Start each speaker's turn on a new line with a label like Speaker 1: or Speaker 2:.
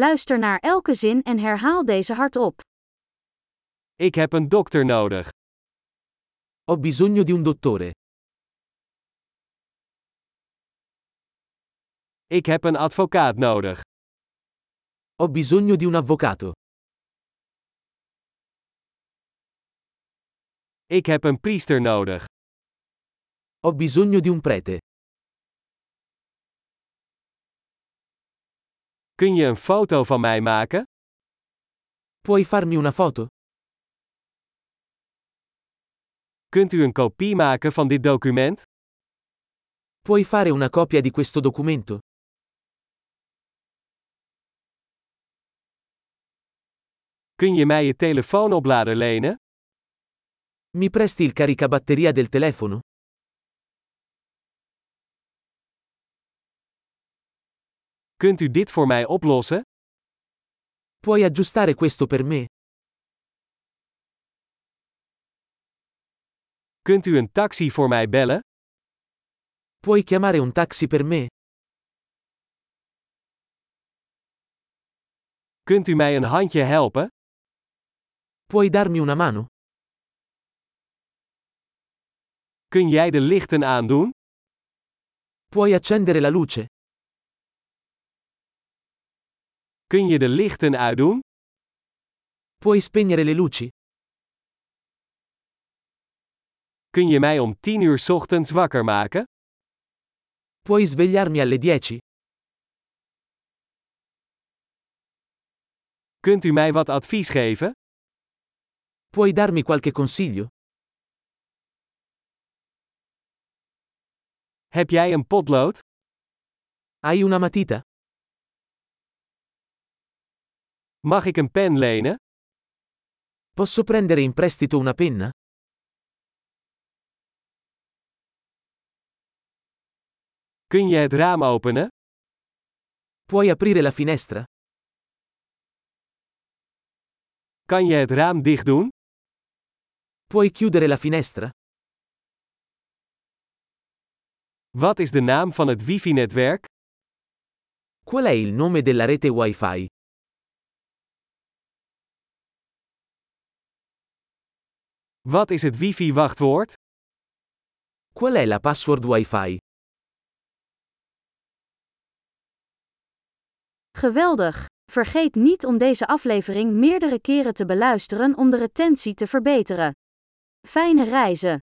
Speaker 1: Luister naar elke zin en herhaal deze hardop.
Speaker 2: Ik heb een dokter nodig.
Speaker 3: Ho bisogno di un dottore.
Speaker 2: Ik heb een advocaat nodig.
Speaker 3: Ho bisogno di un avvocato.
Speaker 2: Ik heb een priester nodig.
Speaker 3: Ho bisogno di un prete.
Speaker 2: Kun je een foto van mij maken?
Speaker 3: Puoi farmi una foto?
Speaker 2: Kunt u een kopie maken van dit document?
Speaker 3: Puoi fare una copia di questo documento?
Speaker 2: Kun je mij je telefoonoplader lenen?
Speaker 3: Mi presti il caricabatteria del telefono?
Speaker 2: Kunt u dit voor mij oplossen?
Speaker 3: Puoi aggiustare questo per me?
Speaker 2: Kunt u een taxi voor mij bellen?
Speaker 3: Puoi chiamare un taxi per me?
Speaker 2: Kunt u mij een handje helpen?
Speaker 3: Puoi darmi una mano?
Speaker 2: Kun jij de lichten aandoen?
Speaker 3: Puoi accendere la luce?
Speaker 2: Kun je de lichten uitdoen?
Speaker 3: Puoi spegnere le luci?
Speaker 2: Kun je mij om 10 uur 's ochtends wakker maken?
Speaker 3: Puoi svegliarmi alle 10?
Speaker 2: Kunt u mij wat advies geven?
Speaker 3: Puoi darmi qualche consiglio?
Speaker 2: Heb jij een potlood?
Speaker 3: Hai una matita?
Speaker 2: Mag ik een pen lenen?
Speaker 3: Posso prendere in prestito una penna?
Speaker 2: Kun je het raam openen?
Speaker 3: Puoi aprire la finestra?
Speaker 2: Kan je het raam dicht doen?
Speaker 3: Puoi chiudere la finestra?
Speaker 2: Wat is de naam van het wifi-netwerk?
Speaker 3: Qual è il nome della rete Wi-Fi?
Speaker 2: Wat is het wifi-wachtwoord?
Speaker 3: Qual è la password Wi-Fi?
Speaker 1: Geweldig! Vergeet niet om deze aflevering meerdere keren te beluisteren om de retentie te verbeteren. Fijne reizen!